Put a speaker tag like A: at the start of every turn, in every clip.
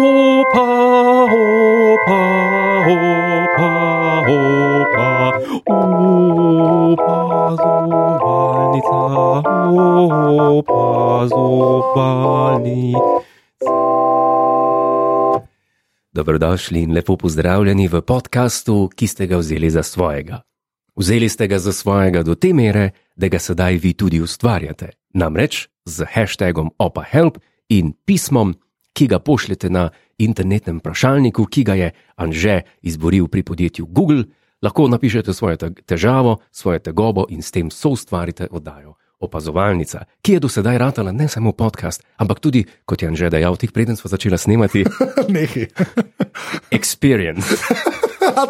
A: Opa, Opa, Opa, Opa, Opa, Zobalnica, Opa, Zobalnica. Dobrodošli in lepo pozdravljeni v podkastu, ki ste ga vzeli za svojega. Vzeli ste ga za svojega do te mere, da ga sedaj vi tudi ustvarjate, namreč z hashtagom OpaHelp in pismom, ki ga pošljete na internetnem vprašalniku, ki ga je Anže izboril pri podjetju Google, lahko napišete svojo te- težavo, svojo tegobo in s tem soustvarite oddajo. Opazovalnica, ki je do sedaj ratala ne samo podcast, ampak tudi, kot je Anže dejal, tih preden smo začeli snemati,
B: Nehi.
A: experience.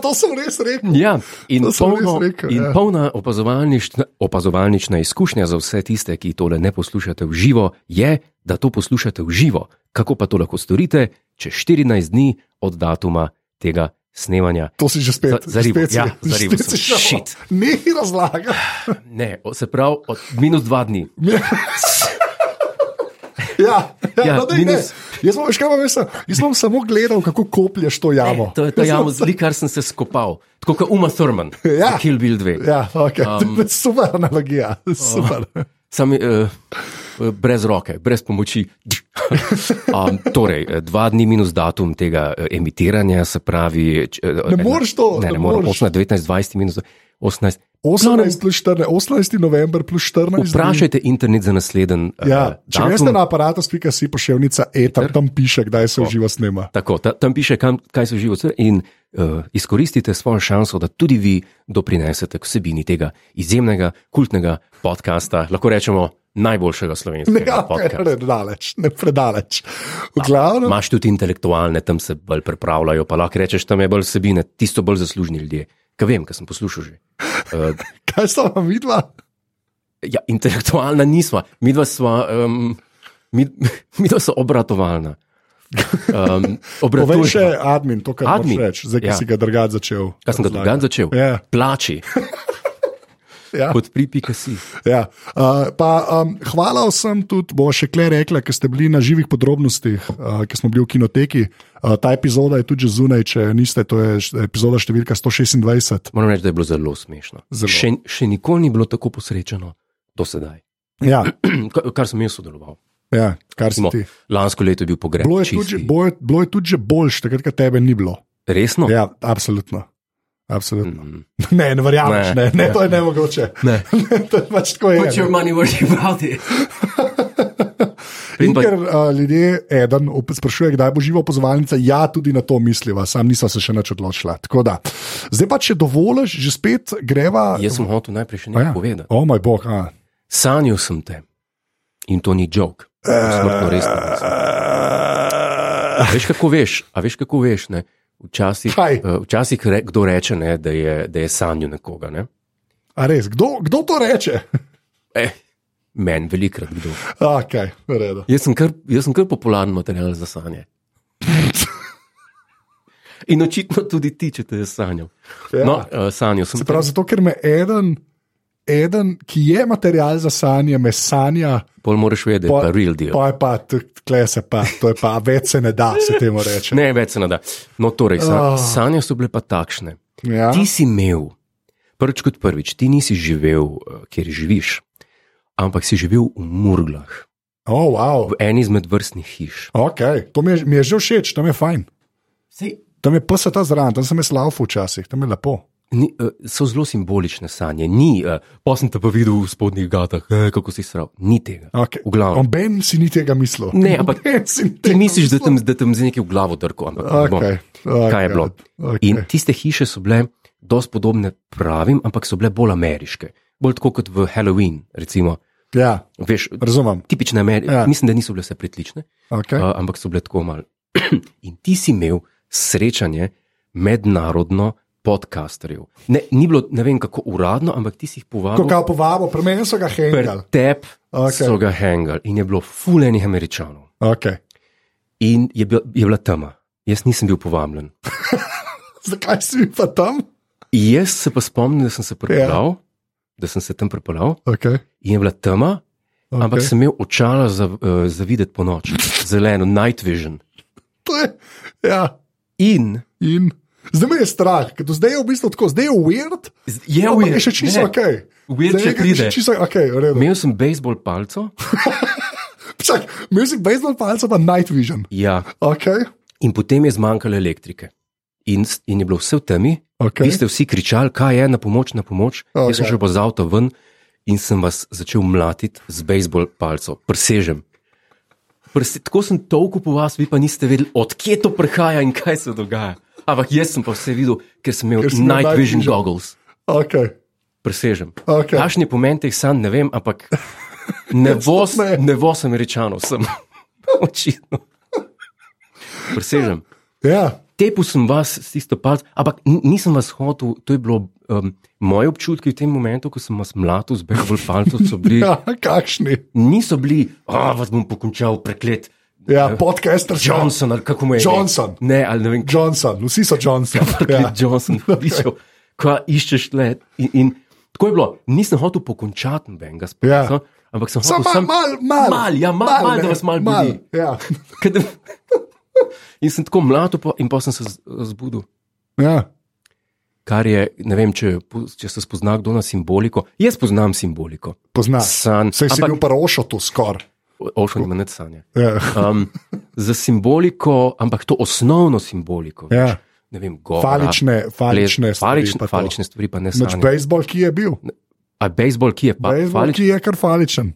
B: to sem res rekel.
A: Ja, in,
B: To sem res
A: polno,
B: rekel,
A: in
B: ja.
A: polna opazovalnična, opazovalnična izkušnja za vse tiste, ki tole ne poslušate v živo, je, da to poslušate v živo. Kako pa to lahko storite, če 14 dni od datuma tega snemanja?
B: To si že
A: Za-
B: spet
A: zaribo,
B: spet si-
A: ja, zaribo
B: spet si
A: sem.
B: šel.
A: Shit.
B: Nehi razlaga.
A: Ne, o- se pravi, od minus dva dni.
B: Ja, ja,
A: Ja,
B: ja, no, dej, ne.
A: minus-
B: Jaz sem, veš kaj imam jaz sem- jaz sem samo gledal, kako koplješ to jamo.
A: To je ta jamo, zdi, kar sem se skopal. Tako kot Uma Thurman,
B: Ja.
A: v Kill Bill 2.
B: Ja, okay. um, super analogija. Super.
A: Sam eh, brez roke, brez pomoči. um, torej, eh, dva dni minus datum tega eh, emitiranja, se pravi. č- eh, ena-
B: moreš to,
A: Ne, ne
B: ne
A: morem.
B: moreš.
A: 18, 19, 20 minus 18. No,
B: 18, plus 14, 18. november plus 14.
A: Vprašajte internet za nasleden. eh,
B: Ja, če
A: datum.
B: greste na aparatus.si pošiljka, e, tam, tam piše, kdaj se uživa snema.
A: Tako, ta, tam piše, kam, kaj so živo, in uh, izkoristite svojo šanso, da tudi vi doprinesete k vsebini tega izjemnega, kultnega podcasta, lahko rečemo najboljšega
B: Ne,
A: slovenskega
B: ja, ne,
A: podcasta.
B: ne, daleč, ne predaleč. V glavnem,
A: Imáš tudi intelektualne, tam se bolj pripravljajo, pa lahko rečeš, tam je bolj vsebine, tisto bolj zaslužni ljudje. Kaj vem, kaj sem poslušal že. Uh,
B: kaj sta vam vidva?
A: ja, intelektualna nismo, mi dva sva, um, mi, mi dva so obratovalna. Um,
B: Povej še
A: obratujeva.
B: admin, to, kar
A: Admin?
B: admin. moraš reči, zdaj, ki
A: Ja.
B: ja. si ga drugače začel.
A: Kaj sem ga
B: razlagati.
A: drugače začel?
B: Ja,
A: Plači,
B: ja,
A: podpri.si.
B: ja. Uh, pa, um, hvala vsem tudi, bo še kle rekla, ker ste bili na živih podrobnostih, uh, ki smo bili v kinoteki. Uh, ta epizoda je tudi že zunaj, če niste, to je š- epizoda številka 126.
A: Moram reči, da je bilo zelo smešno.
B: Zelo.
A: Še, še nikoli ni bilo tako posrečeno do sedaj,
B: Ja,
A: Ka- kar sem jaz sodeloval.
B: ja kar si
A: Smo.
B: ti.
A: Lansko leto je bil pogreb.
B: Bilo
A: čisti.
B: je,
A: No.
B: tudi, že- bilo, je, bilo je tudi že boljš, takrat, ko tebe ni bilo.
A: Resno?
B: Ja, absolutno. Absolutno.
A: Mm.
B: Ne, ne verjameš,
A: Ne.
B: ne, ne, to je nemogoče.
A: Ne.
B: to je pač tako je. ne.
A: money where your mouth is.
B: In
A: pa,
B: ker uh, ljudje, eden op- sprašuje, kdaj bo živa opozovalnica, ja, tudi na to misliva, sam nisem se še nič odločila. Tako da. Zdaj pa, če dovoliš, že spet greva.
A: jaz sem hotel najprej še
B: A
A: nekaj
B: ja.
A: povedati.
B: O moj bog, a.
A: Sanjal sem te in to ni jok. Smrtno resno. mislim. A Veš kako veš, a veš kako veš. Ne? Včasih,
B: Kaj?
A: eh, včasih re, kdo reče, ne, da, je, da je sanjal nekoga. Ne?
B: A res, kdo, kdo to reče?
A: Eh, Meni velikrat kdo.
B: Okay, v redu.
A: Jaz sem kar, jaz sem kar popularen material za sanje. In očitno tudi ti, če te je sanjal.
B: Ja.
A: No, uh, sanjal sem.
B: Se pravi, zato ker me eden, eden, ki je material za sanje, me sanja,
A: Pol moraš vedeti,
B: Po-
A: pa real deal.
B: pa je pa, tukaj se pa, to je pa, več se ne da, se temu reče.
A: Ne, več se ne da. No, torej, san,
B: Ah.
A: sanje so bile pa takšne.
B: Ja,
A: Ti si imel, prvič kot prvič, ti nisi živel, eh, kjer živiš, ampak si živel v Murglah,
B: oh, wow.
A: v eni izmed vrstnih hiš.
B: okay. to mi je, mi je že všeč, tam je fajn.
A: Sej,
B: Tam je pes ta zraven, tam sem jaz laufal včasih, tam je lepo.
A: Ni, eh, so zelo simbolične sanje, ni, eh, pa sem te pa videl v spodnjih gatah, eh, kako si sral, ni tega.
B: Okay.
A: V glavnem.
B: Ben si ni tega mislil.
A: Ne, ampak
B: Noben si ni
A: Ti
B: tega
A: misliš, da
B: mislil.
A: tam, da tam z nekaj v glavo drko, ampak ne bom.
B: Okay. Okay.
A: Kaj je bilo? In tiste hiše so bile dosti podobne pravim, ampak so bile bolj ameriške. Bolj tako kot v Halloween, recimo.
B: Ja,
A: Veš,
B: razumem.
A: tipične Amerike. Ja.
B: Ja.
A: Mislim, da niso bile vse pritlične,
B: Okay.
A: okay. ampak so bile tako mal. In ti si imel srečanje mednarodno podcasterjev. Ne, ni bilo, ne vem kako uradno, ampak ti si jih
B: Ko
A: povabil.
B: ga povabo, pri meni so ga hengali.
A: Tep okay.
B: Okej.
A: so ga hengali in je bilo fulejnih američanov.
B: Okay.
A: In je, bil, je bila tema. Jaz nisem bil povabljen.
B: Zakaj si bil pa tam?
A: Jaz se pa spomnim, da sem se pripeljal, ja. da sem se tam pripeljal
B: Okay.
A: in je bila tema, okay. ampak
B: Okay.
A: eh, sem imel očala za, uh, za videti po noč, zeleno, night vision.
B: To je, ja.
A: In
B: In zdaj me je strah, ker do zdaj je v bistvu tako, zdaj je weird,
A: z- je
B: Ja, ampak je
A: weird,
B: še čisto
A: ne.
B: ok.
A: Weird
B: Zdaj
A: še
B: je še
A: pride.
B: Čisto ok, v redu.
A: Imel sem bejzbol palco.
B: Čak, Music, baseball palca pa night vision.
A: Ja.
B: Ok,
A: In potem je zmanjkalo elektrike. In, s- in je bilo vse v temi,
B: ok.
A: okay. vi ste vsi kričali, kaj je na pomoč, na pomoč. Okay. Jaz sem
B: Okej.
A: šel pa z avto ven in sem vas začel mlatiti z bejzbol palco, presežem. Prse, tako sem tolko po vas, vi pa niste vedeli, odkje to prihaja in kaj se dogaja. Ampak jaz sem pa vse videl, ker sem imel
B: Ker si imel
A: night
B: night
A: vision
B: vision.
A: goggles.
B: okay.
A: Presežem.
B: Okej.
A: Kakšni okay. pomen teh sanj, ne vem, ampak ne voz,
B: ne.
A: ne voz američanov sem. Očitno. Presežem.
B: Ja,
A: Tepil sem vas s tisto palc, ampak n- nisem vas hotel, to je bilo um, moje občutke v tem momentu, ko sem vas mlatil z bejzbol palcem, so bili,
B: ja kakšni.
A: niso bili, a vas bom pokončal preklet.
B: Ja, podcaster
A: Johnson ali kako mu je. ime?"
B: Johnson.
A: Ne, ali ne vem,
B: Johnson, vsi so Johnson.
A: Preklet ja. Johnson, pišel, kaj iščeš le. In, in tako je bilo, nisem hotel pokončati nobenega
B: Ja.
A: spisa, ja. ampak sem
B: Sam
A: hotel
B: mal,
A: sam
B: mal, mal,
A: Mal, ja, mal, mal,
B: ne,
A: da vas malo budi.
B: Ja.
A: Kaj da- In sem tako mlad, pa, in pa sem se z- zbudil.
B: ja.
A: Kar je, ne vem, če, po- če se spozna kdo na simboliko. Jaz poznam simboliko.
B: Pozna.
A: San,
B: Ah, Saj si
A: ampak-
B: bil parošo tu skor.
A: Ošel ima net sanje.
B: Ja.
A: Um, za simboliko, ampak to osnovno simboliko.
B: Ja.
A: Ne vem, govor.
B: Falične, falične stvari.
A: falične, falične stvari, pa ne
B: Noč
A: sanje.
B: bejzbol, ki je bil.
A: A bejzbol, ki je pa eh,
B: Bejzbol,
A: faličen.
B: ki je kar faličen.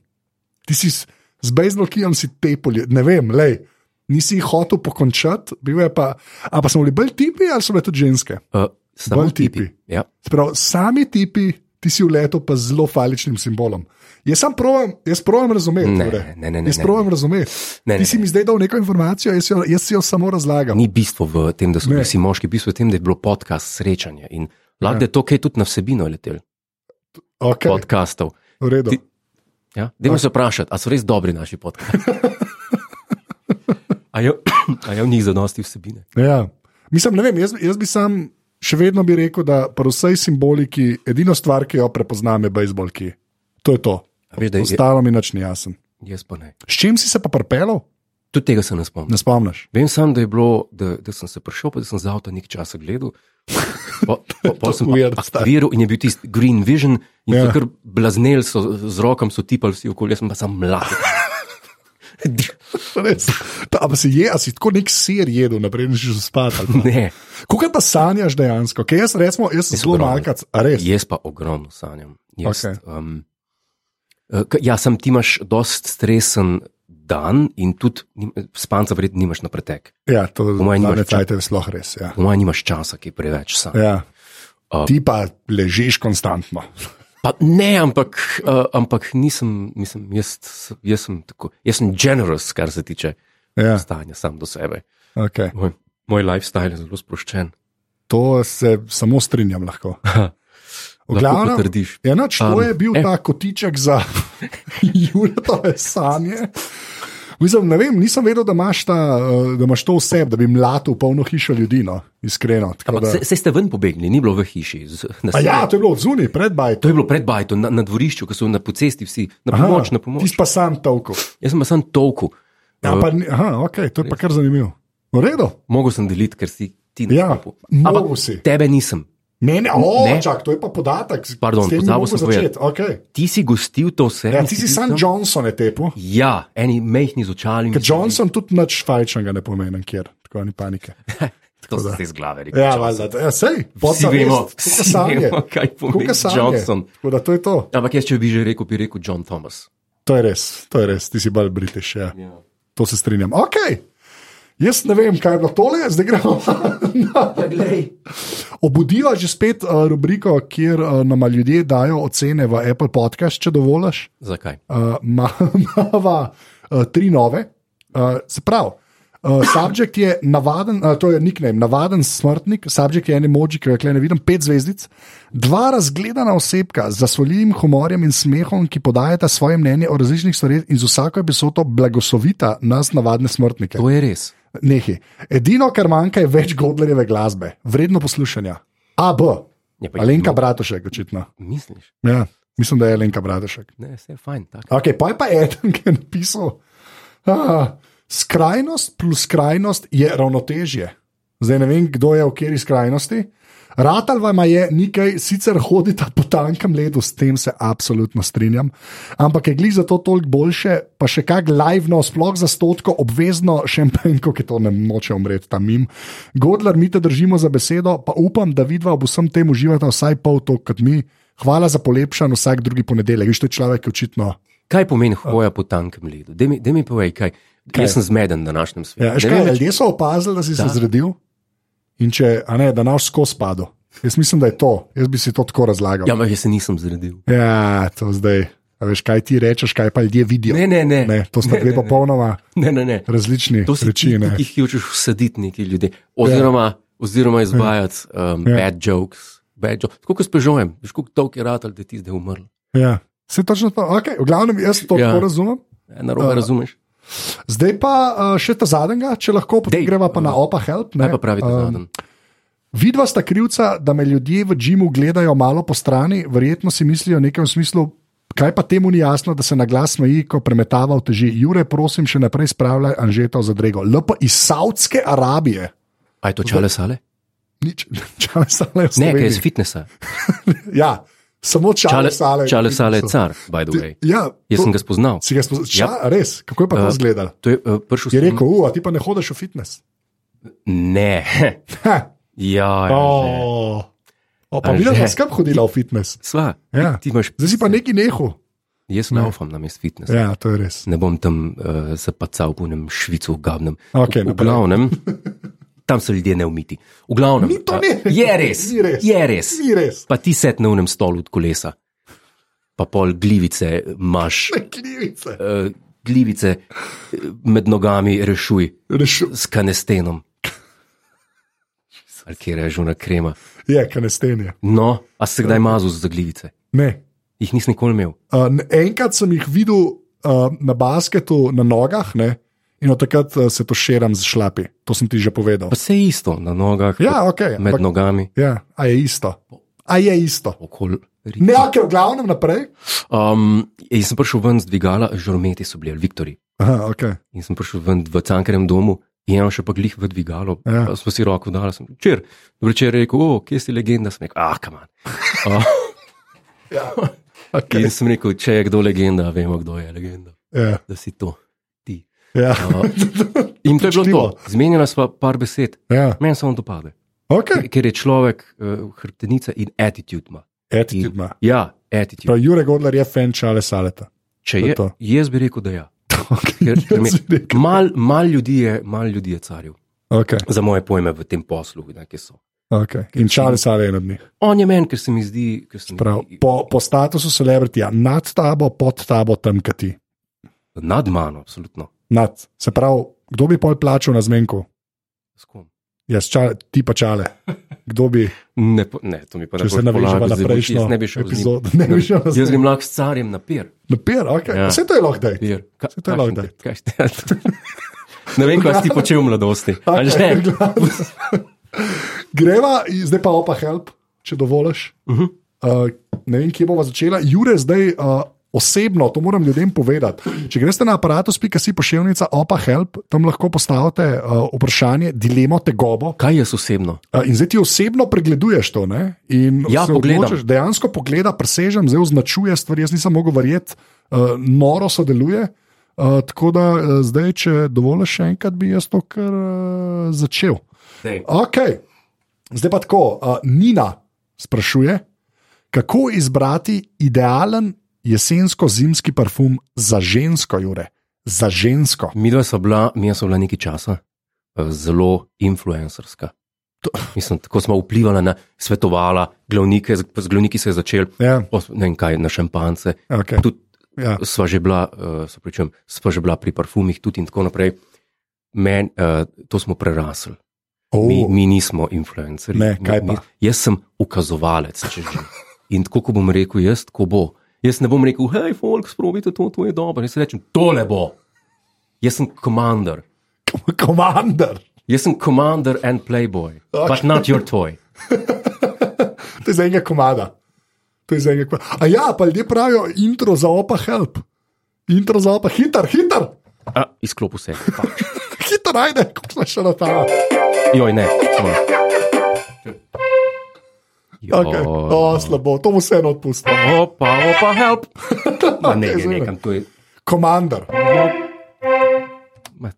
B: Ti si s- z bejzbol, ki jim si tepolje, ne vem, lej. Nisi jih hotel pokončati, bil je pa. A pa smo bili bolj tipi ali so bile tudi ženske?
A: Uh, samo
B: Bolj tipi.
A: tipi. Ja.
B: Sprav, sami tipi, ti si vletel pa z zelo faličnim simbolom. Jaz sam provam, jaz provam razumeti.
A: Ne,
B: Jure.
A: ne, ne, ne,
B: Ja, torej. Jaz
A: ne,
B: provam razumeti.
A: Ne, ne,
B: Ti si mi zdaj dal neko informacijo, jaz, jo, jaz si jo samo razlagam.
A: Ni bistvo v tem, da so bili
B: Ne. Ja.
A: vsi moški, bistvo je v tem, da je bilo podcast srečanje. In lahko da je to, kaj je tudi na vsebino letel,
B: Okay,
A: podcastov.
B: v redu.
A: ti- Ja? Dajmo se vprašati, ali so res dobri naši podcasti. A je, a je v njih zadosti vsebine?
B: Ja. Mislim, ne vem, jaz, jaz bi sam še vedno bi rekel, da pri vsej simboliki edino stvar, ki jo prepoznam, je bejzbolki. To je to.
A: A Veš, da je,
B: Ostalo mi nič ni jasno.
A: jaz pa ne.
B: S čim si se pa prpelal,
A: Tudi tega se ne spomnim.
B: ne spomniš.
A: Vem samo, da, je bilo, da, da sem se prišel, pa da sem za avto nekaj časa gledal. Po, po, po sem
B: weird,
A: pa aktiviral in je bil tisti Green Vision, in
B: Ja.
A: yeah. kar blaznel so z rokom, so tipali vsi okoli, jaz sem pa sam mlad.
B: Res. Ta, a pa si, je, a si tako nek sir jedel, naprej si že spadal.
A: ne,
B: Kako pa sanjaš dejansko? Kaj jaz recimo, jaz sem zelo
A: ogromno.
B: malkac, a res.
A: jaz pa ogromno sanjam. Jaz,
B: Okej.
A: okay. um, ja, sam ti imaš dost stresen dan in tudi nim- spanca verjetno nimaš na pretek.
B: Ja, to
A: Po mojem nimaš
B: zadnje
A: časa.
B: cajte je sploh res. Ja.
A: Po mojem, nimaš časa, ki je preveč sam.
B: Ja.
A: A-
B: Ti pa ležiš konstantno.
A: Pa ne, ampak, uh, ampak nisem, mislim, jaz, jaz sem tako, jaz sem generous, kar se tiče
B: Ja,
A: stanja sam do sebe.
B: okay.
A: Moj, moj lifestyle je zelo sproščen.
B: To se samo strinjam lahko. V
A: Lahko
B: glavnem,
A: potrdiš.
B: Enač, to
A: Um,
B: je bil
A: eh.
B: ta kotiček za Julietove sanje. Mislim, ne vem, nisem vedel, da imaš, ta, eh, da imaš to vse, da bi mlatil polno hišo ljudi, no, iskreno. tako
A: Ampak
B: Da,
A: se, se ste ven pobegli, ni bilo v hiši. Z, na,
B: A ja,
A: to...
B: to je bilo odzunaj, pred bajtom.
A: to je bilo pred bajto, na, na dvorišču, ko so na pocesti vsi, na pomoč, Aha, na pomoč.
B: Ti pa sam tolko.
A: Jaz sem pa sam toku.
B: Ja, pa, ni- aha, ok, to je pa kar zanimivo. V redu.
A: Mogel sem deliti, ker si ti na
B: Ja,
A: kupu.
B: moral si.
A: tebe nisem.
B: Mene, o,
A: Ne.
B: ne, čak, to je pa podatek. s-
A: Pardon,
B: s tem bi
A: pozabil
B: mogel
A: sem povedati.
B: začeti, okej.
A: Ti si gostil to vse.
B: Ja,
A: in
B: ti si
A: bil
B: sam
A: tam.
B: Johnson je tepu.
A: Ja, eni mehni z očali.
B: Ker Johnson tudi nič fajčnega ne pomeni, kjer tako ni panike.
A: To se zdaj z glave reče.
B: Ja, valjda, ja, sej,
A: Vsi
B: podzavest,
A: vemo,
B: tako
A: vsi
B: kot sanje.
A: vemo, kaj
B: Tako
A: pomeni
B: kot sanje.
A: Johnson.
B: Tako da to je to.
A: Ampak jaz, če bi že rekel, bi rekel John Thomas.
B: To je res, to je res, ti si bolj britiš. Ja.
A: Ja.
B: To se strinjam. Ok, jaz ne vem, kaj je bilo tole, zdaj gremo. Obudiva že spet uh, rubriko, kjer uh, nam ljudje dajo ocene v Apple podcast, če dovoliš.
A: Zakaj?
B: uh, imamo uh, tri nove. Uh, se pravi, uh, subjekt je navaden, uh, to je nickname, navaden smrtnik, subjekt je en emoji, ki ga tukaj ne vidim, pet zvezdic, dva razgledana osebka z zasvoljivim humorjem in smehom, ki podajata svoje mnenje o različnih stvareh in z vsako epizodo blagoslovita nas, navadne smrtnike.
A: To je res.
B: Nehi. Edino, kar manjka, je več Godlerjeve glasbe, vredno poslušanja. A, B,
A: Ja, pa jih
B: Alenka Bratušek, očitno.
A: Misliš?
B: Ja, mislim, da je Alenka Bratušek.
A: Ne, vse je fajn. Tako.
B: Okay, pa je pa eden, ki je napisal, ah, Skrajnost plus skrajnost je ravnotežje. Zdaj ne vem, kdo je v kateri skrajnosti. Ratalvama je nekaj, sicer hodita po tankem ledu, s tem se absolutno strinjam, ampak je glih za to toliko boljše, pa še kak live, sploh za stotko, obvezno šampanjko, ki to ne moče umreti tam mim. Godler, mi te držimo za besedo, pa upam, da vidva ob vsem tem uživata vsaj pol to kot mi. Hvala za polepšan vsak drugi ponedeljek, viš to je človek, ki očitno.
A: Kaj pomeni hoja po tankem ledu? Dej mi, dej mi povej, kaj. kaj? Jaz sem zmeden v današnjem svetu.
B: Ja,
A: Ne
B: škaj,
A: vem več-
B: ljudje so opazili, da si da.
A: Da.
B: se zredil in če, a ne, da naš skos padel. Jaz mislim, da je to, jaz bi si to tako razlagal.
A: ja, ampak jaz se nisem zredil.
B: Ja, to zdaj. A veš, kaj ti rečeš, kaj pa ljudje vidijo.
A: Ne, ne, ne.
B: Ja. Ne, to sta dve popolnoma
A: ne, ne, ne.
B: različni
A: To so ti,
B: reči. ne.
A: ki jih hočeš vsaditi neki ljudje. Oziroma, ja. oziroma izvajati um, ja.
B: Ja.
A: bad jokes. Bad jokes. Tako kot spežujem, veš, koliko dolg je ratal, da ti zdaj umrl.
B: Ja. Se točno to, okay, v glavnem jaz to
A: Ja.
B: ja. tako razumem.
A: E, narobe
B: Ja.
A: razumeš?
B: Zdaj pa uh, še ta zadnjega, če lahko potem
A: Dej.
B: greva pa na opa help. ne. Eh,
A: Kaj pa pravite um, zadnjem?
B: Vidva sta krivca, da me ljudje v Džimu gledajo malo po strani, verjetno si mislijo nekaj v smislu. Kaj pa temu ni jasno, da se na glas smeji, ko premetava v teži? Jure, prosim, še naprej spravljaj Anžeta za drego. LP iz Saudske Arabije.
A: A je to čale sale?
B: Nič, čale sale je
A: Ne, kaj je iz
B: vse.
A: fitnesa.
B: Ja, samo čale
A: Čale,
B: sale.
A: čale sale je car, by the way.
B: Ja,
A: Jaz
B: to-
A: sem ga spoznal.
B: Si ga spoznal? Ja, res. Kako je pa to
A: Ja.
B: izgledalo?
A: To je uh, prišel
B: Je
A: sem-
B: rekel, "U, a ti pa ne hodiš v fitness.
A: Ne.
B: Ha,
A: ja, oh.
B: o, o, pa
A: Anže.
B: videl, da si kam hodila v fitness.
A: Sva,
B: Ja.
A: ti imaš.
B: Zdaj si pa neki nehu.
A: Jaz
B: Ne.
A: naufam na mest fitnesa.
B: Ja, to je res.
A: ne bom tam uh, zapacal po nem švicu, gavnem. v,
B: Okej,
A: v
B: naprej.
A: glavnem, tam so ljudje neumiti. V glavnem,
B: Ni to
A: a,
B: ni res.
A: je res,
B: Ni res.
A: je res.
B: Ni res.
A: Pa ti sed na unem stolu od kolesa, pa pol glivice imaš,
B: Klivice.
A: uh, glivice eh, med nogami rešuj
B: Rešu.
A: s kanestenom. Ali kje je žuna krema.
B: Je, kanestenje.
A: No, a se kdaj mazu za glivice?
B: Ne.
A: Jih nisem nikoli imel.
B: Uh, n- enkrat sem jih videl uh, na basketu na nogah ne? in od takrat uh, se to šeram z šlapi. To sem ti že povedal.
A: Pa se isto na nogah,
B: Ja, ok.
A: med no-
B: ampak-
A: nogami,
B: Ja, a je isto. A je isto.
A: okoli.
B: Ne, ok, v glavnem naprej.
A: Um, jaz sem prišel ven z dvigala, žrometi so bili, ali Viktori.
B: Aha, okay.
A: In sem prišel ven v Cankarjem domu in imam še pa glih v dvigalo.
B: Ja.
A: Ja. Smo si roko dali, sem večer. Večer je rekel, o, kje si legenda? Sem rekel, ah, kamen. Uh,
B: Ja.
A: okay.
B: Okay.
A: In sem rekel, če je kdo legenda, vemo, kdo je legenda.
B: Ja,
A: Da si to. Ti.
B: ja.
A: Uh, in to je bilo to.
B: Pričljivo.
A: Zmenjala sva par besed.
B: ja.
A: Meni samo to pade.
B: Okay.
A: Ker je človek uh, hrbtenica in attitude ima.
B: Attitude ima.
A: Ja, attitude.
B: Prav, Jure Godler je fan Čale Saleta.
A: Če
B: to je
A: je,
B: to.
A: jaz bi rekel, da ja.
B: Okay.
A: Ker, ker mi,
B: Jaz bi rekel.
A: mal, mal ljudi je, mal ljudi je caril,
B: Okay,
A: za moje pojme v tem poslu, ne, ki so.
B: okay. In Čale Sale je eden od njih.
A: On je meni, ker se mi zdi, ker sem
B: Prav, po, po statusu celebritija, nad tabo, pod tabo, tam kati.
A: nad mano, absolutno.
B: Nad. Se pravi, kdo bi pol plačal na zmenku?
A: S kom?
B: Jaz, čale, ti pa čale. Kdo bi,
A: Ne, po, ne, to mi pa ne
B: če se
A: boš
B: navežemo
A: polagal,
B: na
A: zdaj boš-
B: prejšnjo
A: jaz ne bi šel z njim.
B: epizodo, ne bi šel na
A: Jaz grem
B: zmenku.
A: lahko s carjem na pier.
B: Napier,
A: Ja.
B: okay. ja. Vse to je lahko, da je.
A: pier. Ka,
B: Saj to je
A: kakšen
B: lahko,
A: te- kakšen te- ne vem, kaj si ti počel v mladosti. ali že?
B: Greva, i- zdaj pa opa help, če dovoliš.
A: Uh -huh.
B: Uh, ne vem, kje bova začela. Jure, zdaj uh, osebno, to moram ljudem povedati. Če greste na aparatus.si pošiljka opa help, tam lahko postavite uh, vprašanje, dilemo, tegobo.
A: Kaj jaz osebno?
B: Uh, in zdaj ti osebno pregleduješ to. Ne? In
A: Ja,
B: se
A: pogledam.
B: odločiš, dejansko pogleda, presežem, zdaj označuje stvari. Jaz nisem mogel verjeti, uh, noro sodeluje. Uh, tako da uh, zdaj, če dovoliš še enkrat, bi jaz to kar uh, začel.
A: Dej.
B: Ok, zdaj pa tako. Uh, Nina sprašuje, kako izbrati idealen jesensko-zimski parfum za žensko, Jure, za žensko.
A: Mi dva sva bila, mi sva bila nekaj časa eh, zelo influencerska. Mislim, tako smo vplivali na svetovala, glavnike, z z glavniki se je začel,
B: Ja,
A: pol smo- ne vem kaj, na šampance.
B: okay.
A: Tudi
B: ja.
A: sva že bila, eh, se pričujem, sva že bila pri parfumih, tudi in tako naprej. Men, eh, to smo prerasli.
B: Oh,
A: Mi, mi nismo influencerji.
B: Ne,
A: Mi-
B: kaj
A: mi,
B: pa?
A: jaz sem ukazovalec, če že. In tako, kot bom rekel, jaz, ko bo. Jaz ne bom rekel, hej, folk, sprobite to, to je dobro. Jaz rečem, tole bo. Jaz sem komandar.
B: Komandar.
A: Jaz sem komandar and playboy, okay. but not your toy.
B: To je za enega komada. To je za enega komada. A ja, pa ljudje pravijo intro za opa help. Intro za opa, hiter, hiter.
A: A, izklopil se je. Fuck.
B: Hitro najde, kot smo še na ta.
A: Joj, ne. samo.
B: Okay. Oh, slabo, to mu vseeno odpustimo.
A: Opa, opa, help. Ma ne,
B: Ok,
A: gre
B: zunaj.
A: nekam, to je.
B: Komandar.
A: Ma.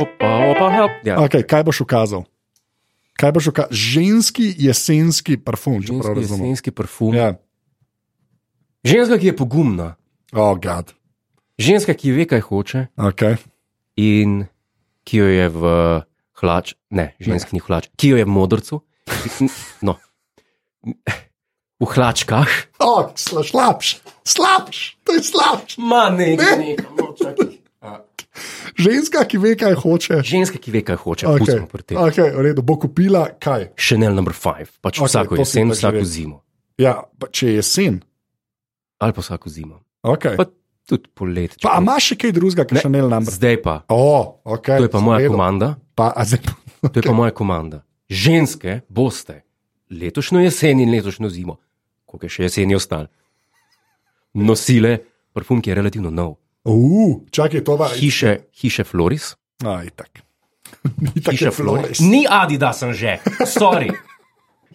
A: Opa, opa, help. Ja,
B: Okay, kaj boš ukazal? Kaj boš ukazal? Ženski jesenski parfum, če prav
A: ženski
B: razumem.
A: jesenski parfum. Ja.
B: Ja.
A: Ženska, ki je pogumna,
B: Oh, God.
A: ženska, ki ve, kaj hoče
B: Okay.
A: in ki jo je v hlač, ne, ženski ni hlač, ki jo je v modrcu, no, v hlačkah.
B: Oh, sla- slabš, slabš, to je slabš.
A: Ma ne, ne, ne.
B: Ženska, ki ve, kaj hoče.
A: Ženska, ki ve, kaj hoče, okay.
B: Okay.
A: pustimo pri tem.
B: Okay, v redu, bo kupila kaj.
A: Chanel number 5, pač
B: Okej,
A: okay, vsako
B: to si
A: jesen,
B: pa že
A: vsako
B: vedel.
A: zimo.
B: Ja, pa če je jesen.
A: Ali pa vsako zimo.
B: Okay.
A: Pa tudi poletje.
B: Pa a imaš še kaj
A: Ne.
B: drugega, kar še ne lambda?
A: Zdaj pa,
B: Oh, okay,
A: to je pa moja komanda,
B: Pa, a zdaj,
A: to je pa moja komanda. Ženske boste letošnjo jesen in letošnjo zimo, koliko je še jesen je ostal, nosile parfum, ki je relativno nov.
B: uh, čakaj, to va.
A: Hiše, hiše Floris.
B: A, itak. Itak
A: Hiša
B: je
A: Floris.
B: Flores.
A: Ni Adidas, sem že, sorry.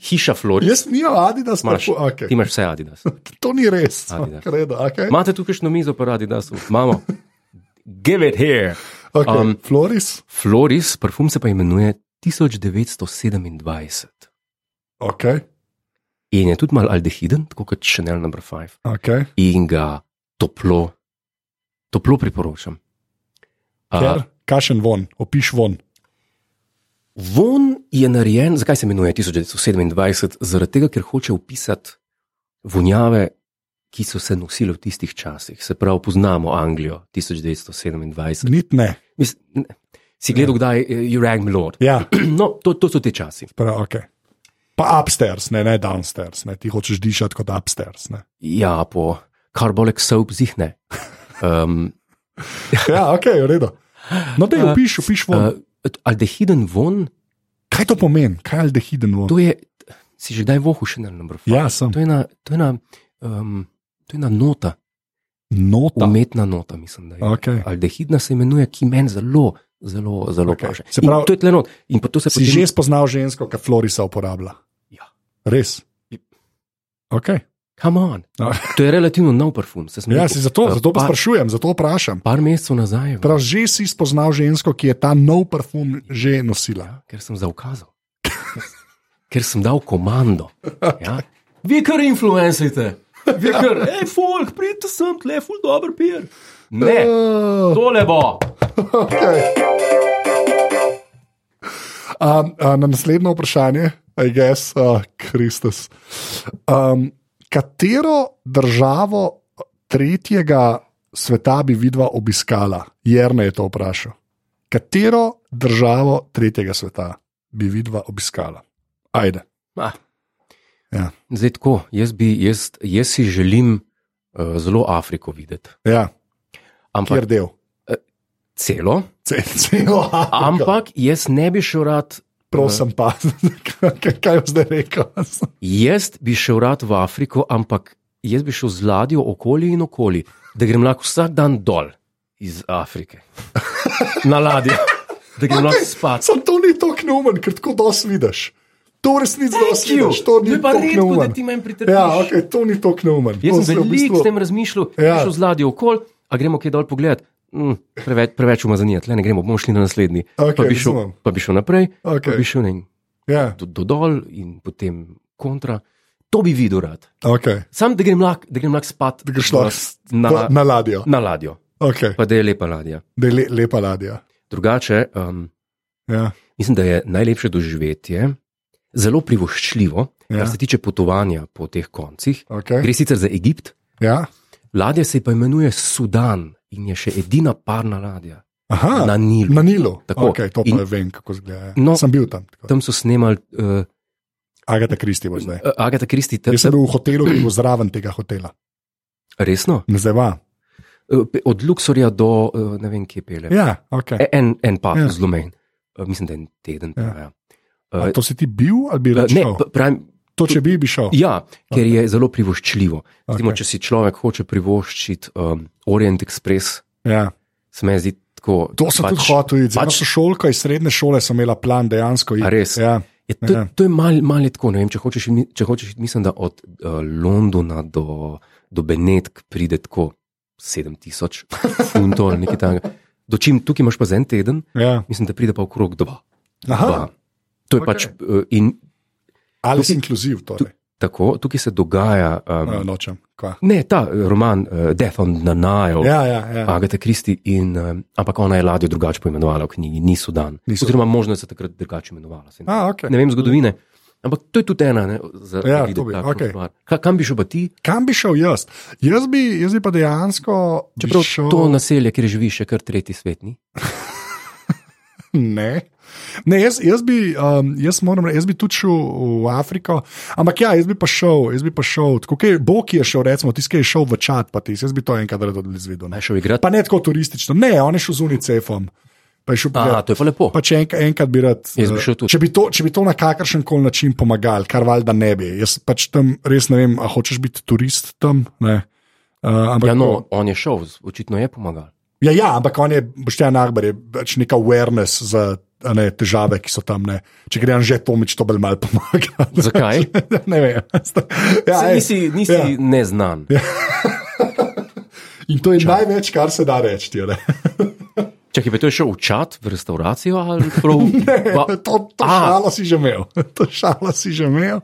A: Hiša Floris.
B: Jaz nimam Adidas,
A: Imaš,
B: tako, okay.
A: Ti imaš vse Adidas.
B: to ni res.
A: Adidas.
B: Kredo, okay.
A: Imate tukaj še mizo, pa radi, da so. Imamo. Give it here.
B: Okay.
A: um,
B: Um, Floris,
A: Floris, parfum se pa imenuje 1927.
B: okay.
A: In je tudi malo aldehiden, tako kot Chanel No. 5.
B: Okay.
A: In ga toplo, toplo priporočam. A,
B: Ker, kašen von, opiš von.
A: von je narejen, zakaj se imenuje 1927? Zaradi tega, ker hoče opisati vonjave, ki so se nosile v tistih časih. Se pravi, poznamo Anglijo 1927.
B: Nit ne.
A: Mis, ne, si gledal, kdaj eh, je Rank Lord?
B: Ja,
A: No, to, to so ti časi.
B: prav, okay. Pa upstairs, ne, ne downstairs, ne. ti hočeš dišati kot upstairs. Ne.
A: Ja, po Carbolic Soap zihne. Um,
B: Ja, ok, v redu. No, da
A: Uh,
B: jo opiš, opiš von.
A: uh, aldehiden von,
B: Kaj to pomeni, kaj je aldehiden von?
A: to je, si že kdaj vohu še na number five.
B: Ja, sem.
A: To je ena, to je ena, um, to je ena nota,
B: Nota.
A: umetna nota, mislim. da je.
B: Okay.
A: Aldehidna se imenuje, ki meni zelo, zelo, zelo
B: Okej.
A: paše.
B: Se
A: In
B: pravi-
A: to je tlenot. In pa to se
B: Si že spoznal žensko, ki Florisa uporablja?
A: Ja.
B: Res. Okay.
A: Come on.
B: No.
A: To je relativno nov parfum. se sem
B: Ja,
A: rekel.
B: si zato,
A: Eh,
B: zato pa
A: par,
B: sprašujem, zato vprašam.
A: par mesecev nazaj, je bilo,
B: Prav, že si spoznal žensko, ki je ta nov parfum že nosila.
A: ker sem zaukazal, ker sem dal komando. Ja? Vi kar influencite, vi kar, hej, folk, pridite sem, tle, ful dobro pijer. Ne,
B: Uh,
A: tole bo.
B: okay. um, uh, na naslednje vprašanje, I guess, uh, Kristus. Um, katero državo tretjega sveta bi vidva obiskala? Jerne je to vprašal. Katero državo tretjega sveta bi vidva obiskala? Ajde.
A: Ah.
B: Ja.
A: Zdaj tako, jaz, bi, jaz, jaz si želim uh, zelo Afriko videti.
B: Ja,
A: Ampak
B: kjer del.
A: celo,
B: Ce- Celo Afriko.
A: ampak jaz ne bi šel rad,
B: Prosim, pa, kaj, kaj je zdaj rekel?
A: jaz bi šel rad v Afriko, ampak jaz bi šel z ladjo okoli in okoli, da grem lahko vsak dan dol iz Afrike. Na ladjo, da grem lahko spat.
B: Sam to ni tako neumen, ker tako dosti vidiš. To v resnici dosti
A: Thank you.
B: vidiš, to
A: To
B: ni
A: je pa
B: tako
A: redko, da
B: neumen.
A: ti meni pritrdiš.
B: Ja, okay, to ni tako neumen.
A: Jaz
B: To se
A: sem
B: v
A: veliko s tem razmišljal,
B: Ja.
A: ja. šel z ladjo okol, a gremo kaj dol pogledat. Mm, preveč, preveč umazanije, tle ne gremo, bomo šli na naslednji.
B: Okej,
A: pa, bi šel,
B: razumem.
A: pa bi šel naprej, pa
B: Okej.
A: bi šel ne, vem,
B: Ja,
A: do, do dol in potem kontra. To bi videl rad.
B: okay.
A: Sam da grem lahko lahk spat
B: Da greš
A: v-
B: lahko s- na, na ladjo.
A: na ladjo,
B: Okay.
A: pa da je lepa ladja.
B: Da je le, lepa ladja.
A: Drugače, um,
B: Ja.
A: mislim, da je najlepše doživetje, zelo privoščljivo, ja.
B: Ja.
A: kar se tiče potovanja po teh koncih.
B: Okay.
A: Gre sicer za Egipt,
B: Ja.
A: Ladja se pa imenuje Sudan in je še edina parna ladja
B: Aha,
A: na
B: na,
A: Nilu.
B: na Nilu.
A: Tako.
B: Okay, to pa
A: In-
B: In... vem, kako zgleda.
A: No.
B: No, sem bil tam. tam.
A: Tam so snemali uh,
B: Agata Kristi bo zdaj.
A: Agata Kristi, tam
B: Jaz sem bil v hotelu, ki je bil zraven tega hotela.
A: resno,
B: Ne zdaj va.
A: Eh, pe- od Luksorja do uh, ne vem, kje pele.
B: Ja, okay.
A: E- En, en pa ja.
B: Ja.
A: zelo menj, uh, mislim, da en teden.
B: Ja.
A: Ja. Ja.
B: A to si ti bil ali bi
A: E,
B: Oh.
A: Ne,
B: rečel?
A: pa- pravim,
B: To, če bi, bi šel.
A: Ja, ker okay. je zelo privoščljivo. Recimo, okay. Če si človek hoče privoščiti um, Orient Express,
B: Ja.
A: se meni zdi tako.
B: To sem pač, tudi hotel iti. Pač
A: Pač,
B: so šolka iz srednje šole, sem imela plan dejansko. iti.
A: A res?
B: Ja.
A: je, to,
B: Ja.
A: ja. to je malo mal je tako. ne Vem, če hočeš, iti mi- če hočeš, iti, mislim, da od uh, Londona do, do Benetk pride tako 7000 funtov ali nekaj takega. Dočim tukaj imaš pa za en teden,
B: Ja.
A: mislim, da pride pa okrog dva.
B: Aha,
A: dva. To je
B: okej.
A: okay. pač uh, in
B: ali si inkluziv, torej.
A: tako, tukaj se dogaja.
B: Ja,
A: Um,
B: nočem. Kva.
A: ne, ta eh, roman uh, Death on the Nile.
B: Ja, ja, ja.
A: Agata Kristi, in, um, ampak ona je ladjo drugače poimenovala v knjigi, niso dan.
B: Ni Sudan.
A: Oziroma, možno je se takrat drugače imenovala. saj ne-
B: A, okay.
A: Ne vem zgodovine, ampak to je tudi ena, ne, za
B: Ja,
A: da
B: to
A: vidim
B: bi,
A: tako
B: okej.
A: stvar. Ka, kam bi šel pa ti,
B: Kam bi šel jaz? Jaz bi, jaz bi pa dejansko. bi
A: čeprav
B: šel...
A: to naselje, kjer živiš, je kar tretji svet. Ni?
B: Ne. Ne, jaz, jaz, bi, um, jaz, moram, re- jaz bi tudi šel v Afriko, ampak ja, jaz bi pa šel, jaz bi pa šel, tako kot je Bog je šel, recimo, tiskaj je šel v Čad, pa tiskaj, jaz bi to enkrat rad izvedel. Ne?
A: Naj šel igrati.
B: Pa ne tako turistično, ne, on je šel z unicefom. Pa je šel
A: Aha,
B: pogledat.
A: to je pa lepo.
B: Pa če enk, Pač enkrat bi rad.
A: Jaz bi
B: eh,
A: šel tudi.
B: če, bi to, če bi to na kakršen koli način pomagal, kar valjda ne bi. Jaz pač tam res ne vem, a hočeš biti turist tam. Ne? Uh, ampak,
A: Ja, no, on je šel, z- očitno je pomagal.
B: Ja, ja, ampak on je, Boštjan Arbar je pač neka awareness za a ne, težave, ki so tam. Ne. Če gre že Tomič, to bolj malo pomaga.
A: Zakaj?
B: ne vem. Ja,
A: Saj
B: ej,
A: nisi nisi
B: ja.
A: ja. neznan.
B: In to je Ča. največ, kar se da reči. a ne.
A: Čakaj, pa to je šel v čat, v restauracijo ali prav?
B: to,
A: ne,
B: to
A: A.
B: šalo si že imel. To šalo si že imel.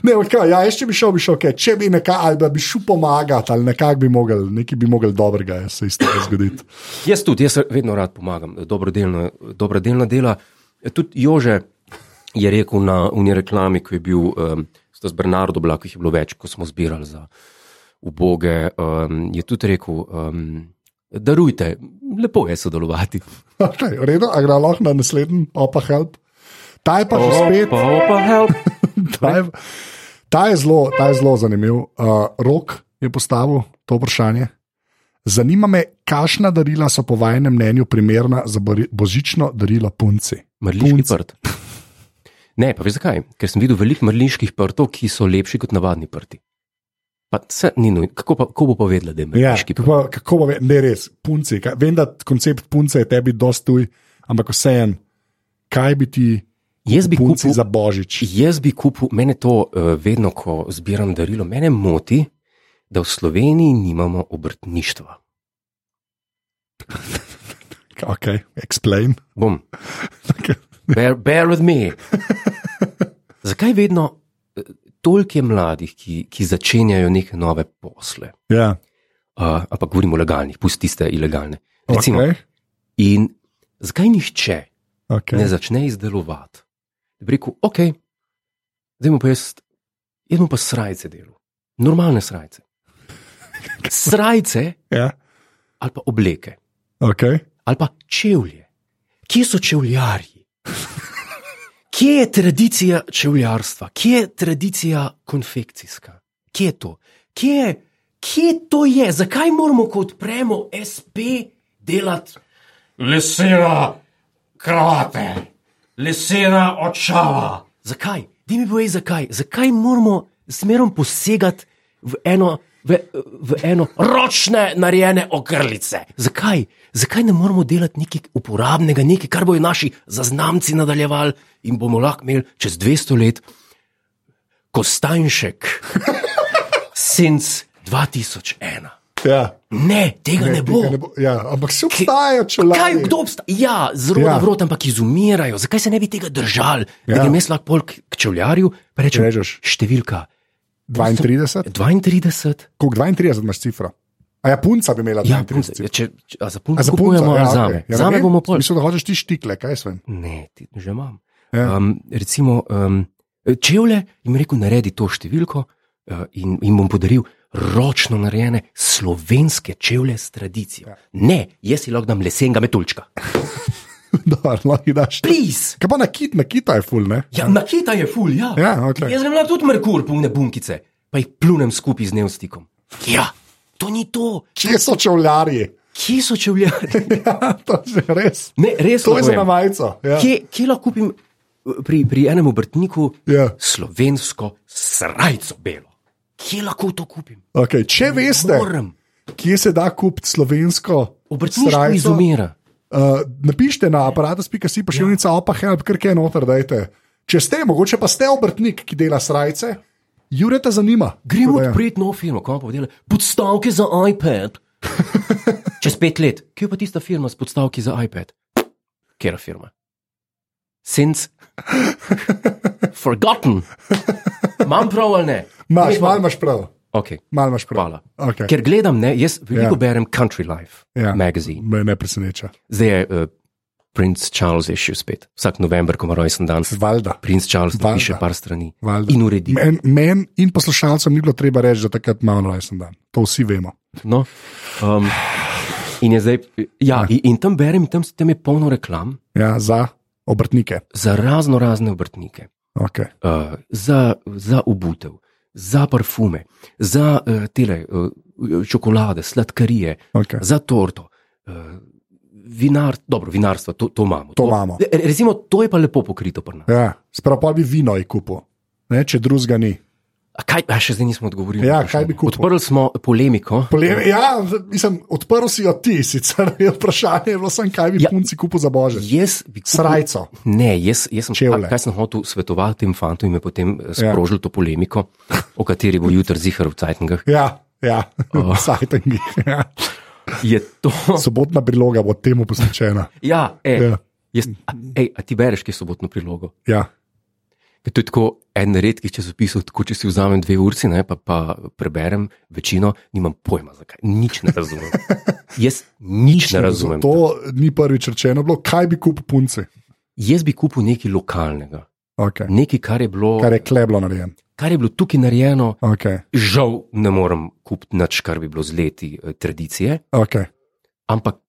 B: Ne, ampak kaj, ja, jaz če bi šel, bi šel, okay. če bi nekaj, ali da bi šel pomagati, ali nekako bi mogel, nekaj bi mogel dobrega ja, se iz tega zgoditi.
A: Jaz tudi, jaz vedno rad pomagam, dobrodelna, dobrodelna dela. E, Tudi Jože je rekel na unji reklami, ko je bil um, z Bernardo, bila, ki jih je bilo več, ko smo zbirali za uboge, um, je tudi rekel, um, darujte, lepo je sodelovati.
B: Okay, v redu, a gre lahko na naslednji, opa help. Ta je pa že spet.
A: Opa, opa, help.
B: Ta je, ta je zelo, ta je zelo zanimiv. Uh, Rok je postavil to vprašanje. Zanima me, kakšna darila so po vašem mnenju primerna za bori- božično darilo punci?
A: Mrliški
B: Punc.
A: prt. Ne, pa veš zakaj? Ker sem videl veliko mrliških prtov, ki so lepši kot navadni prti. Pa se ni nujno, kako pa, kako bo povedala, da je
B: Ja,
A: mrliški prt?
B: kako, kako bo, ve- ne res, punci. Kaj, vem, da koncept punce je tebi dostuj, ampak vseeno, kaj bi ti
A: Jaz bi
B: punci
A: kupil
B: za božič?
A: Jaz bi kupil, mene to eh, vedno, ko zbiram darilo, mene moti, da v Sloveniji nimamo obrtništva.
B: Ok, explain.
A: Bom, bear, bear with me. Zakaj vedno eh, toliko je mladih, ki, ki začenjajo neke nove posle?
B: ja,
A: Uh, ampak govorimo o legalnih, pusti tiste ilegalne. Recimo, okay.
B: okay,
A: In zakaj nihče okay. ne
B: okay.
A: začne izdelovati? Da bi rekel, ok, zdaj bom pa jaz, jaz bom pa srajce delal, normalne srajce. Srajce
B: Ja,
A: ali pa obleke,
B: okay.
A: ali pa čevlje. Kje so čevljarji? Kje je tradicija čevljarstva, kje je tradicija konfekcijska, kje je to? Kje, kje to je? Zakaj moramo, ko odpremo SP, delati lesena kravate, lesena očala? Zakaj? Dej mi povej, zakaj? Zakaj moramo zmerom posegati v eno, v, v eno ročne narejene ogrlice? Zakaj? Zakaj ne moramo delati nekaj uporabnega, nekaj, kar bojo naši zaznamci nadaljevali in bomo lahko imeli čez 200 let Kostanjšek, since 2001.
B: ja.
A: Ne, tega ne, ne bo.
B: tega ne bo. Ja, ampak se obstajajo, če lahko.
A: Kaj, kdo obstaja? Ja, zelo ja.
B: Ja.
A: vrot, ampak izumirajo. Zakaj se ne bi tega držali? Ja. Da
B: Ja.
A: grem jaz lahko pol k k čevljarju, pa rečem,
B: Režeš.
A: številka
B: 32?
A: 32.
B: Koliko 32 imaš cifra? A ja, punca bi imela
A: Ja,
B: 32
A: če,
B: cifra.
A: če, a za pun
B: A za punca,
A: kupujemo
B: ja,
A: ja,
B: okej.
A: zame.
B: Ja,
A: Ja, zame
B: ne,
A: bomo pol.
B: Mislim, da hočeš ti štikle, kaj sem.
A: Ne, ti že imam.
B: Ja.
A: Ja. Um, recimo, um, čevlje jim rekel, naredi to številko uh, in jim bom podaril ročno narejene slovenske čevlje s tradicijo. Ja. Ne, jaz si lahko dam lesenega metuljčka.
B: Dobar, lahko jih daš.
A: Please!
B: Kaj pa na kit, na kita je ful, ne?
A: Ja, nakita je ful, ja.
B: Ja, ok.
A: Jaz grem na tudi merkur, polne bunkice, pa jih plunem skupaj z nevstikom. Ja, to ni to.
B: Kje so čevljarji?
A: Kje so čevljarji?
B: Ja, to je res.
A: Ne, res
B: To je za
A: lahko
B: na
A: vem.
B: majico. Ja.
A: Kje, kje lahko kupim eh, pri, pri enem obrtniku
B: Ja.
A: slovensko srajco belo. Kje lahko to kupim?
B: Okay, če veste,
A: Moram.
B: kje se da kupiti slovensko
A: Obrtništvo
B: srajco,
A: izumira.
B: Uh, napišite na aparatus.si pošiljnica ja. opa help, ker je noter, dajte. Če ste, mogoče pa ste obrtnik, ki dela srajce, Jureta zanima.
A: Gremo
B: Tako da ja.
A: odpreti nov film, kako bo delal. Podstavke za iPad. Čez pet let. Kje pa tista firma s podstavki za iPad? Kera firma? Since. Forgotten. Imam prav ali ne?
B: Imaš, malo imaš prav.
A: Okay,
B: Mal imaš prav.
A: hvala.
B: Okay.
A: Ker gledam, ne, jaz veliko
B: Ja.
A: yeah. berem Country Life
B: Ja.
A: yeah. magazine.
B: Me ne preseneča.
A: Zdaj je uh, Prince Charles je še spet. Vsak november, ko ima rojsten dan,
B: Zvalda.
A: Prince Charles
B: Valjda.
A: piše par strani
B: Valjda.
A: in uredi.
B: Meni men in poslušalcem ni bilo treba reči, da takrat imamo rojsten dan. To vsi vemo.
A: No, um, in, je zdaj, ja, in, in tam berem, in tam, tam je polno reklam
B: Ja, za obrtnike.
A: za razno razne obrtnike,
B: Okay.
A: uh, za, za obutev, za parfume, za uh, tele, uh, čokolade, sladkarije,
B: Okay.
A: za torto. Uh, Vinar, dobro, vinarstvo, to, to imamo.
B: To imamo.
A: re- Recimo, to je pa lepo pokrito pri nas.
B: Ja, Sprav pa bi vino je kupil, ne, če drugega ni.
A: A Kaj, a še zdaj nismo odgovorili?
B: Ja,
A: na vprašanje.
B: kaj bi kupil?
A: Odprli smo polemiko.
B: Polem, ja, mislim, odprl si jo ti, sicer je vprašanje je bilo samo, kaj bi ja.
A: Ja.
B: punci kupil za božič.
A: Jaz bi kupil-
B: Srajco.
A: Ne, jaz, jaz sem kaj,
B: Čevlje.
A: kaj sem hotel svetovati tem fantom in me potem eh, sprožil ja. to polemiko, o kateri bo jutri zihar v Cajtningah.
B: Ja, ja, oh. sajtengi. Ja.
A: Je to.
B: Sobotna priloga bo temu posvečena.
A: Ja, e,
B: Ja.
A: ja. Jaz, a, ej, a ti bereš, ki je sobotno prilogo?
B: Ja.
A: Ker to je tako en redkih časopisov, tako če si vzamem dve urci, ne, pa, pa preberem večino, nimam pojma zakaj. Nič ne razumem. Jaz nič, nič ne razumem.
B: To ni prvič rečeno, bilo, kaj bi kupil punci,
A: Jaz bi kupil nekaj lokalnega,
B: okay.
A: nekaj, kar je bilo,
B: kar je kleblo narejen.
A: kar je bilo tukaj narejeno.
B: Okay.
A: Žal ne morem kupiti nič, kar bi bilo z leti eh, tradicije,
B: Okay.
A: ampak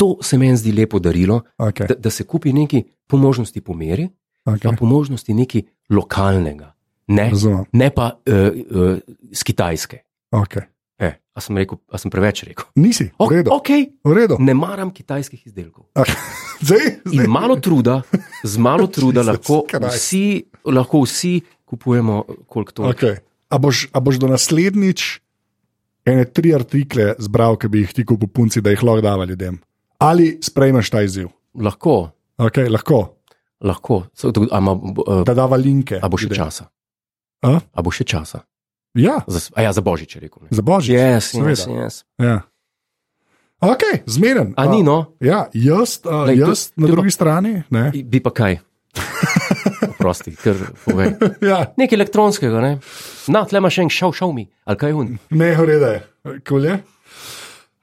A: to se meni zdi lepo darilo,
B: Okay.
A: da, da se kupi nekaj po možnosti po meri, pa
B: Okay.
A: po možnosti nekaj lokalnega, ne,
B: Razumem.
A: ne pa uh, uh, z Kitajske.
B: Okay.
A: E, a, sem rekel, a sem preveč rekel?
B: Nisi, v
A: O,
B: redu.
A: ok,
B: V redu.
A: ne maram kitajskih izdelkov.
B: Okay. Zdaj,
A: In
B: zdaj.
A: malo truda, z malo truda
B: Jezus
A: lahko
B: Christ.
A: vsi, lahko vsi kupujemo, koliko to je.
B: Okay. A, boš, a boš do naslednjič ene tri artikle zbral, ki bi jih ti kupil punci, da jih lahko dava ljudem. Ali sprejmeš ta izziv?
A: Lahko,
B: Okay, lahko,
A: lahko. So, a, ma, uh,
B: da dava linke.
A: a bo še
B: ljudem.
A: časa.
B: A?
A: A bo še časa?
B: Ja,
A: Za, s- a ja, za božič je rekel. ne.
B: za božič.
A: Yes, yes,
B: seveda.
A: yes.
B: Ja. Ok, zmeren.
A: A ni no,
B: Ja, jaz, uh,
A: Glej, to-
B: jaz na
A: to je
B: drugi strani. Ne?
A: bi pa kaj. Prosti, ker povej.
B: Ja,
A: Nekaj elektronskega, ne? Na, tle imaš še en šov, šov mi, ali kaj un.
B: ne, ureda je. Kolje.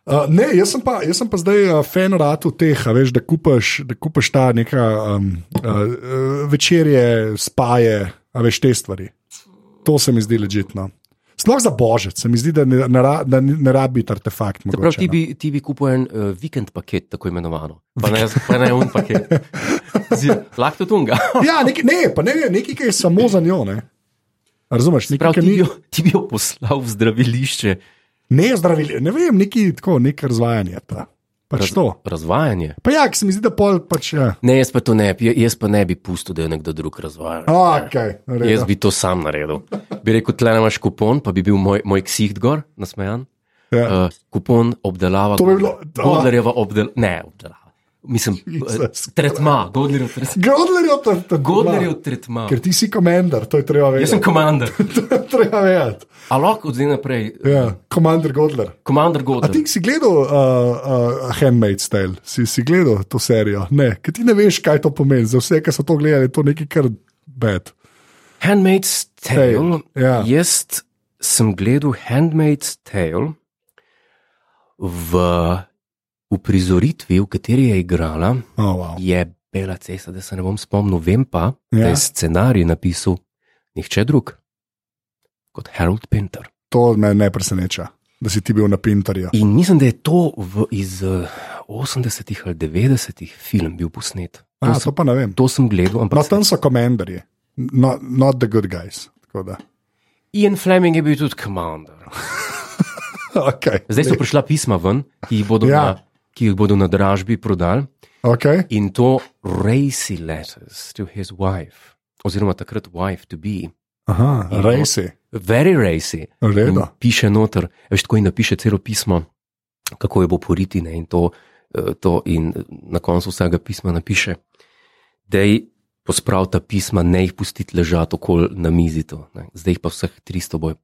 B: Uh, ne, jaz sem pa, jaz sem pa zdaj uh, fan ratu teh, a veš, da kupaš, da kupaš ta neka um, uh, večerje, spaje, a veš te stvari. To se mi zdi ležitno. Sploh za božič, se mi zdi, da ne, ne, ra- da ne rabi biti artefakt.
A: Prav, ti
B: Mogoče, no.
A: bi, ti bi kupil en uh, vikend paket, tako imenovano. Pa ne, pa ne un paket. Z- Lahko tunga.
B: Ja, nekaj, ne, pa ne, ne, nekaj, ki je samo za njo. Ne. A Razumeš, nekaj,
A: Prav,
B: ki
A: ti bi,
B: ni,
A: jo, ti bi jo poslal v zdravilišče.
B: ne zdravili, ne vem, nekaj tako, nekaj razvajanja. Ta. Pač to.
A: Razvajanje.
B: Pa ja, ki se mi zdi, da pol pač. Ja.
A: Ne, jaz pa to ne, bi- jaz pa ne bi pustil, da jo nekdo drug razvaja.
B: Okay,
A: Jaz bi to sam naredil. Bi rekel, tle imaš kupon, pa bi bil moj, moj ksiht gor, nasmejan.
B: Ja.
A: Uh, kupon obdelava.
B: To bi bilo- da.
A: Godlerjeva obdelava. Ne, obdelava. Mislim,
B: Jesus
A: eh, tretma, Godlerjev tretma.
B: Godlerjev, to, to,
A: Godlerjev tretma.
B: Ker ti si komandar, to je treba
A: no. Jaz
B: vedeti.
A: sem komandar.
B: to je treba vedeti.
A: A lahko od zdaj naprej,
B: Ja, komandar Godler.
A: komandar
B: A ti
A: Godler.
B: si gledal uh, uh, Handmaid's Tale, si, si gledal to serijo? Ne, ker ti ne veš, kaj to pomeni. Za vse, ki so to gledali, je to nekaj kar bed.
A: Handmaid's Tale.
B: Tale, ja.
A: Jaz sem gledal Handmaid's Tale v uprizoritvi, v kateri je igrala.
B: Oh, wow.
A: je bela cesta, da se ne bom spomnil. Vem pa, ja. da
B: Ja.
A: je scenarij napisal nihče drug kot Harold Pinter.
B: To me ne preseneča, da si ti bil na Pinterju.
A: In mislim, da je to v, iz eh, 80-ih ali 90-ih film bil posnet. To,
B: A,
A: sem,
B: to pa ne vem.
A: to sem gledal,
B: No,
A: ampak
B: tam so komandarji, not, not the good guys. Tako da.
A: Ian Fleming je bil tudi komandor.
B: Okay.
A: Zdaj so prišla pisma ven, ki jih bodo
B: Ja.
A: ja. na ki jih bodo na dražbi prodali.
B: Okay.
A: In to racy letters to his wife, oziroma takrat wife to be,
B: Aha,
A: In-
B: rejsi,
A: very racy. In
B: reda.
A: piše noter, veš, tako in napiše celo pismo, kako jo bo poriti. Ne, in, to, eh, to, in na koncu vsega pisma napiše, da je pospravil ta pisma, ne jih pustiti ležati okoli na mizi. To, ne. Zdaj jih pa vseh 300 boje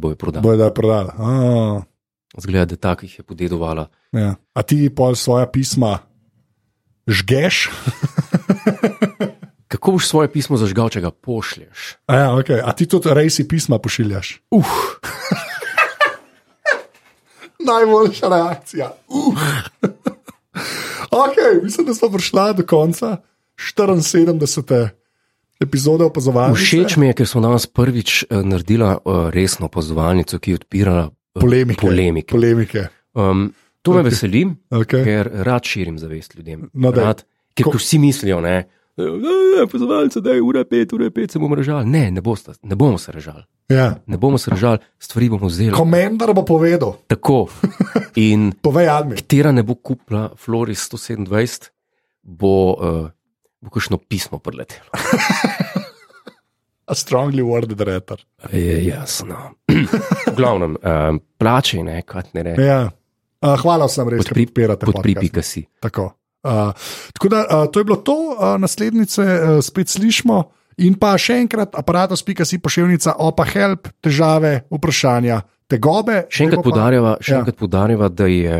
A: boj prodal. Boj.
B: Bojo da je prodala. A,
A: Zgleda, da takih je podedovala.
B: ja. A ti pol svoja pisma žgeš?
A: Kako boš svoje pismo zažgal, če ga pošlješ?
B: A, ja, okay. A ti tudi rejsi pisma pošiljaš?
A: Uf,
B: Najboljša reakcija. Uh. ok, mislim, da smo prišla do konca 74. epizode opazovanja.
A: všeč mi je, ker smo danes prvič eh, naredila eh, resno pozvalnico, ki je odpirala eh,
B: polemike.
A: polemike.
B: polemike.
A: Um, to me veseli,
B: Okay.
A: ker rad širim zavest ljudem.
B: No, daj.
A: rad, ker
B: Ko-
A: ko... vsi mislijo, ne. "Ja, Pozovalce, da je ura pet, ura pet, se bomo režali. Ne, ne, bosta, ne bomo se režali.
B: Ja.
A: Ne bomo se režali, stvari bomo vzeli Kom...
B: Komendar bo povedal,
A: tako. In
B: povej, Admi.
A: katera ne bo kupila Floris 127, bo, uh, bo kakšno pismo preletelo.
B: A strongly worded retor.
A: Je jasno. V glavnem, um, plače, ne, kaj ne reče.
B: Ja. Uh, hvala vsem, res, da
A: Podpri-
B: podpirate.
A: Podpri,
B: podcast.
A: pika si.
B: Tako. Uh, tako da uh, to je bilo to, uh, naslednjice uh, spet slišimo. In pa še enkrat, aparatus.si pošiljka, opa help, težave, vprašanja, tegobe.
A: Še
B: Zdaj
A: enkrat
B: bo pa-
A: podarjava, še
B: ja.
A: ja. enkrat podarjava da, je,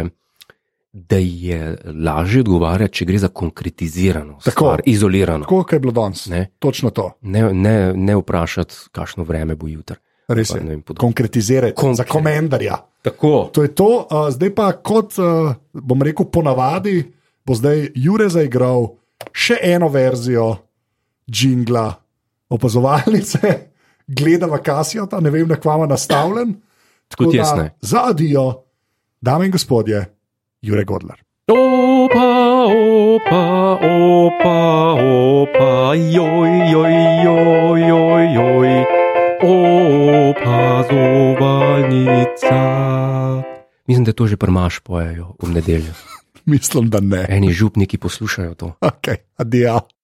A: da je lažje odgovarjati, če gre za konkretizirano,
B: Tako.
A: stvar, izolirano.
B: Tako kot je bilo danes. Ne.
A: Ne,
B: Točno to,
A: ne, ne, ne vprašati, kakšno vreme bo jutri.
B: res
A: Pa ne
B: je.
A: vem, podobno.
B: Konkretizirati,
A: Konkre-
B: za komendarja.
A: Tako.
B: To je to, uh, zdaj pa kot uh, bom rekel, ponavadi bo zdaj Jure zaigral še eno verzijo jingla, opazovalnice, gledava Kasijota, ne vem, na kvama nastavljen.
A: Tudi
B: da
A: jaz ne.
B: Zadijo, dame in gospodje, Jure Godler.
A: Opa, opa, opa, opa, joj, joj, joj, joj, joj, opazovalnica. Ah. Mislim, da to že prmaš pojejo v nedeljo.
B: Mislim, da ne.
A: Eni župniki poslušajo to.
B: Ok, adijo.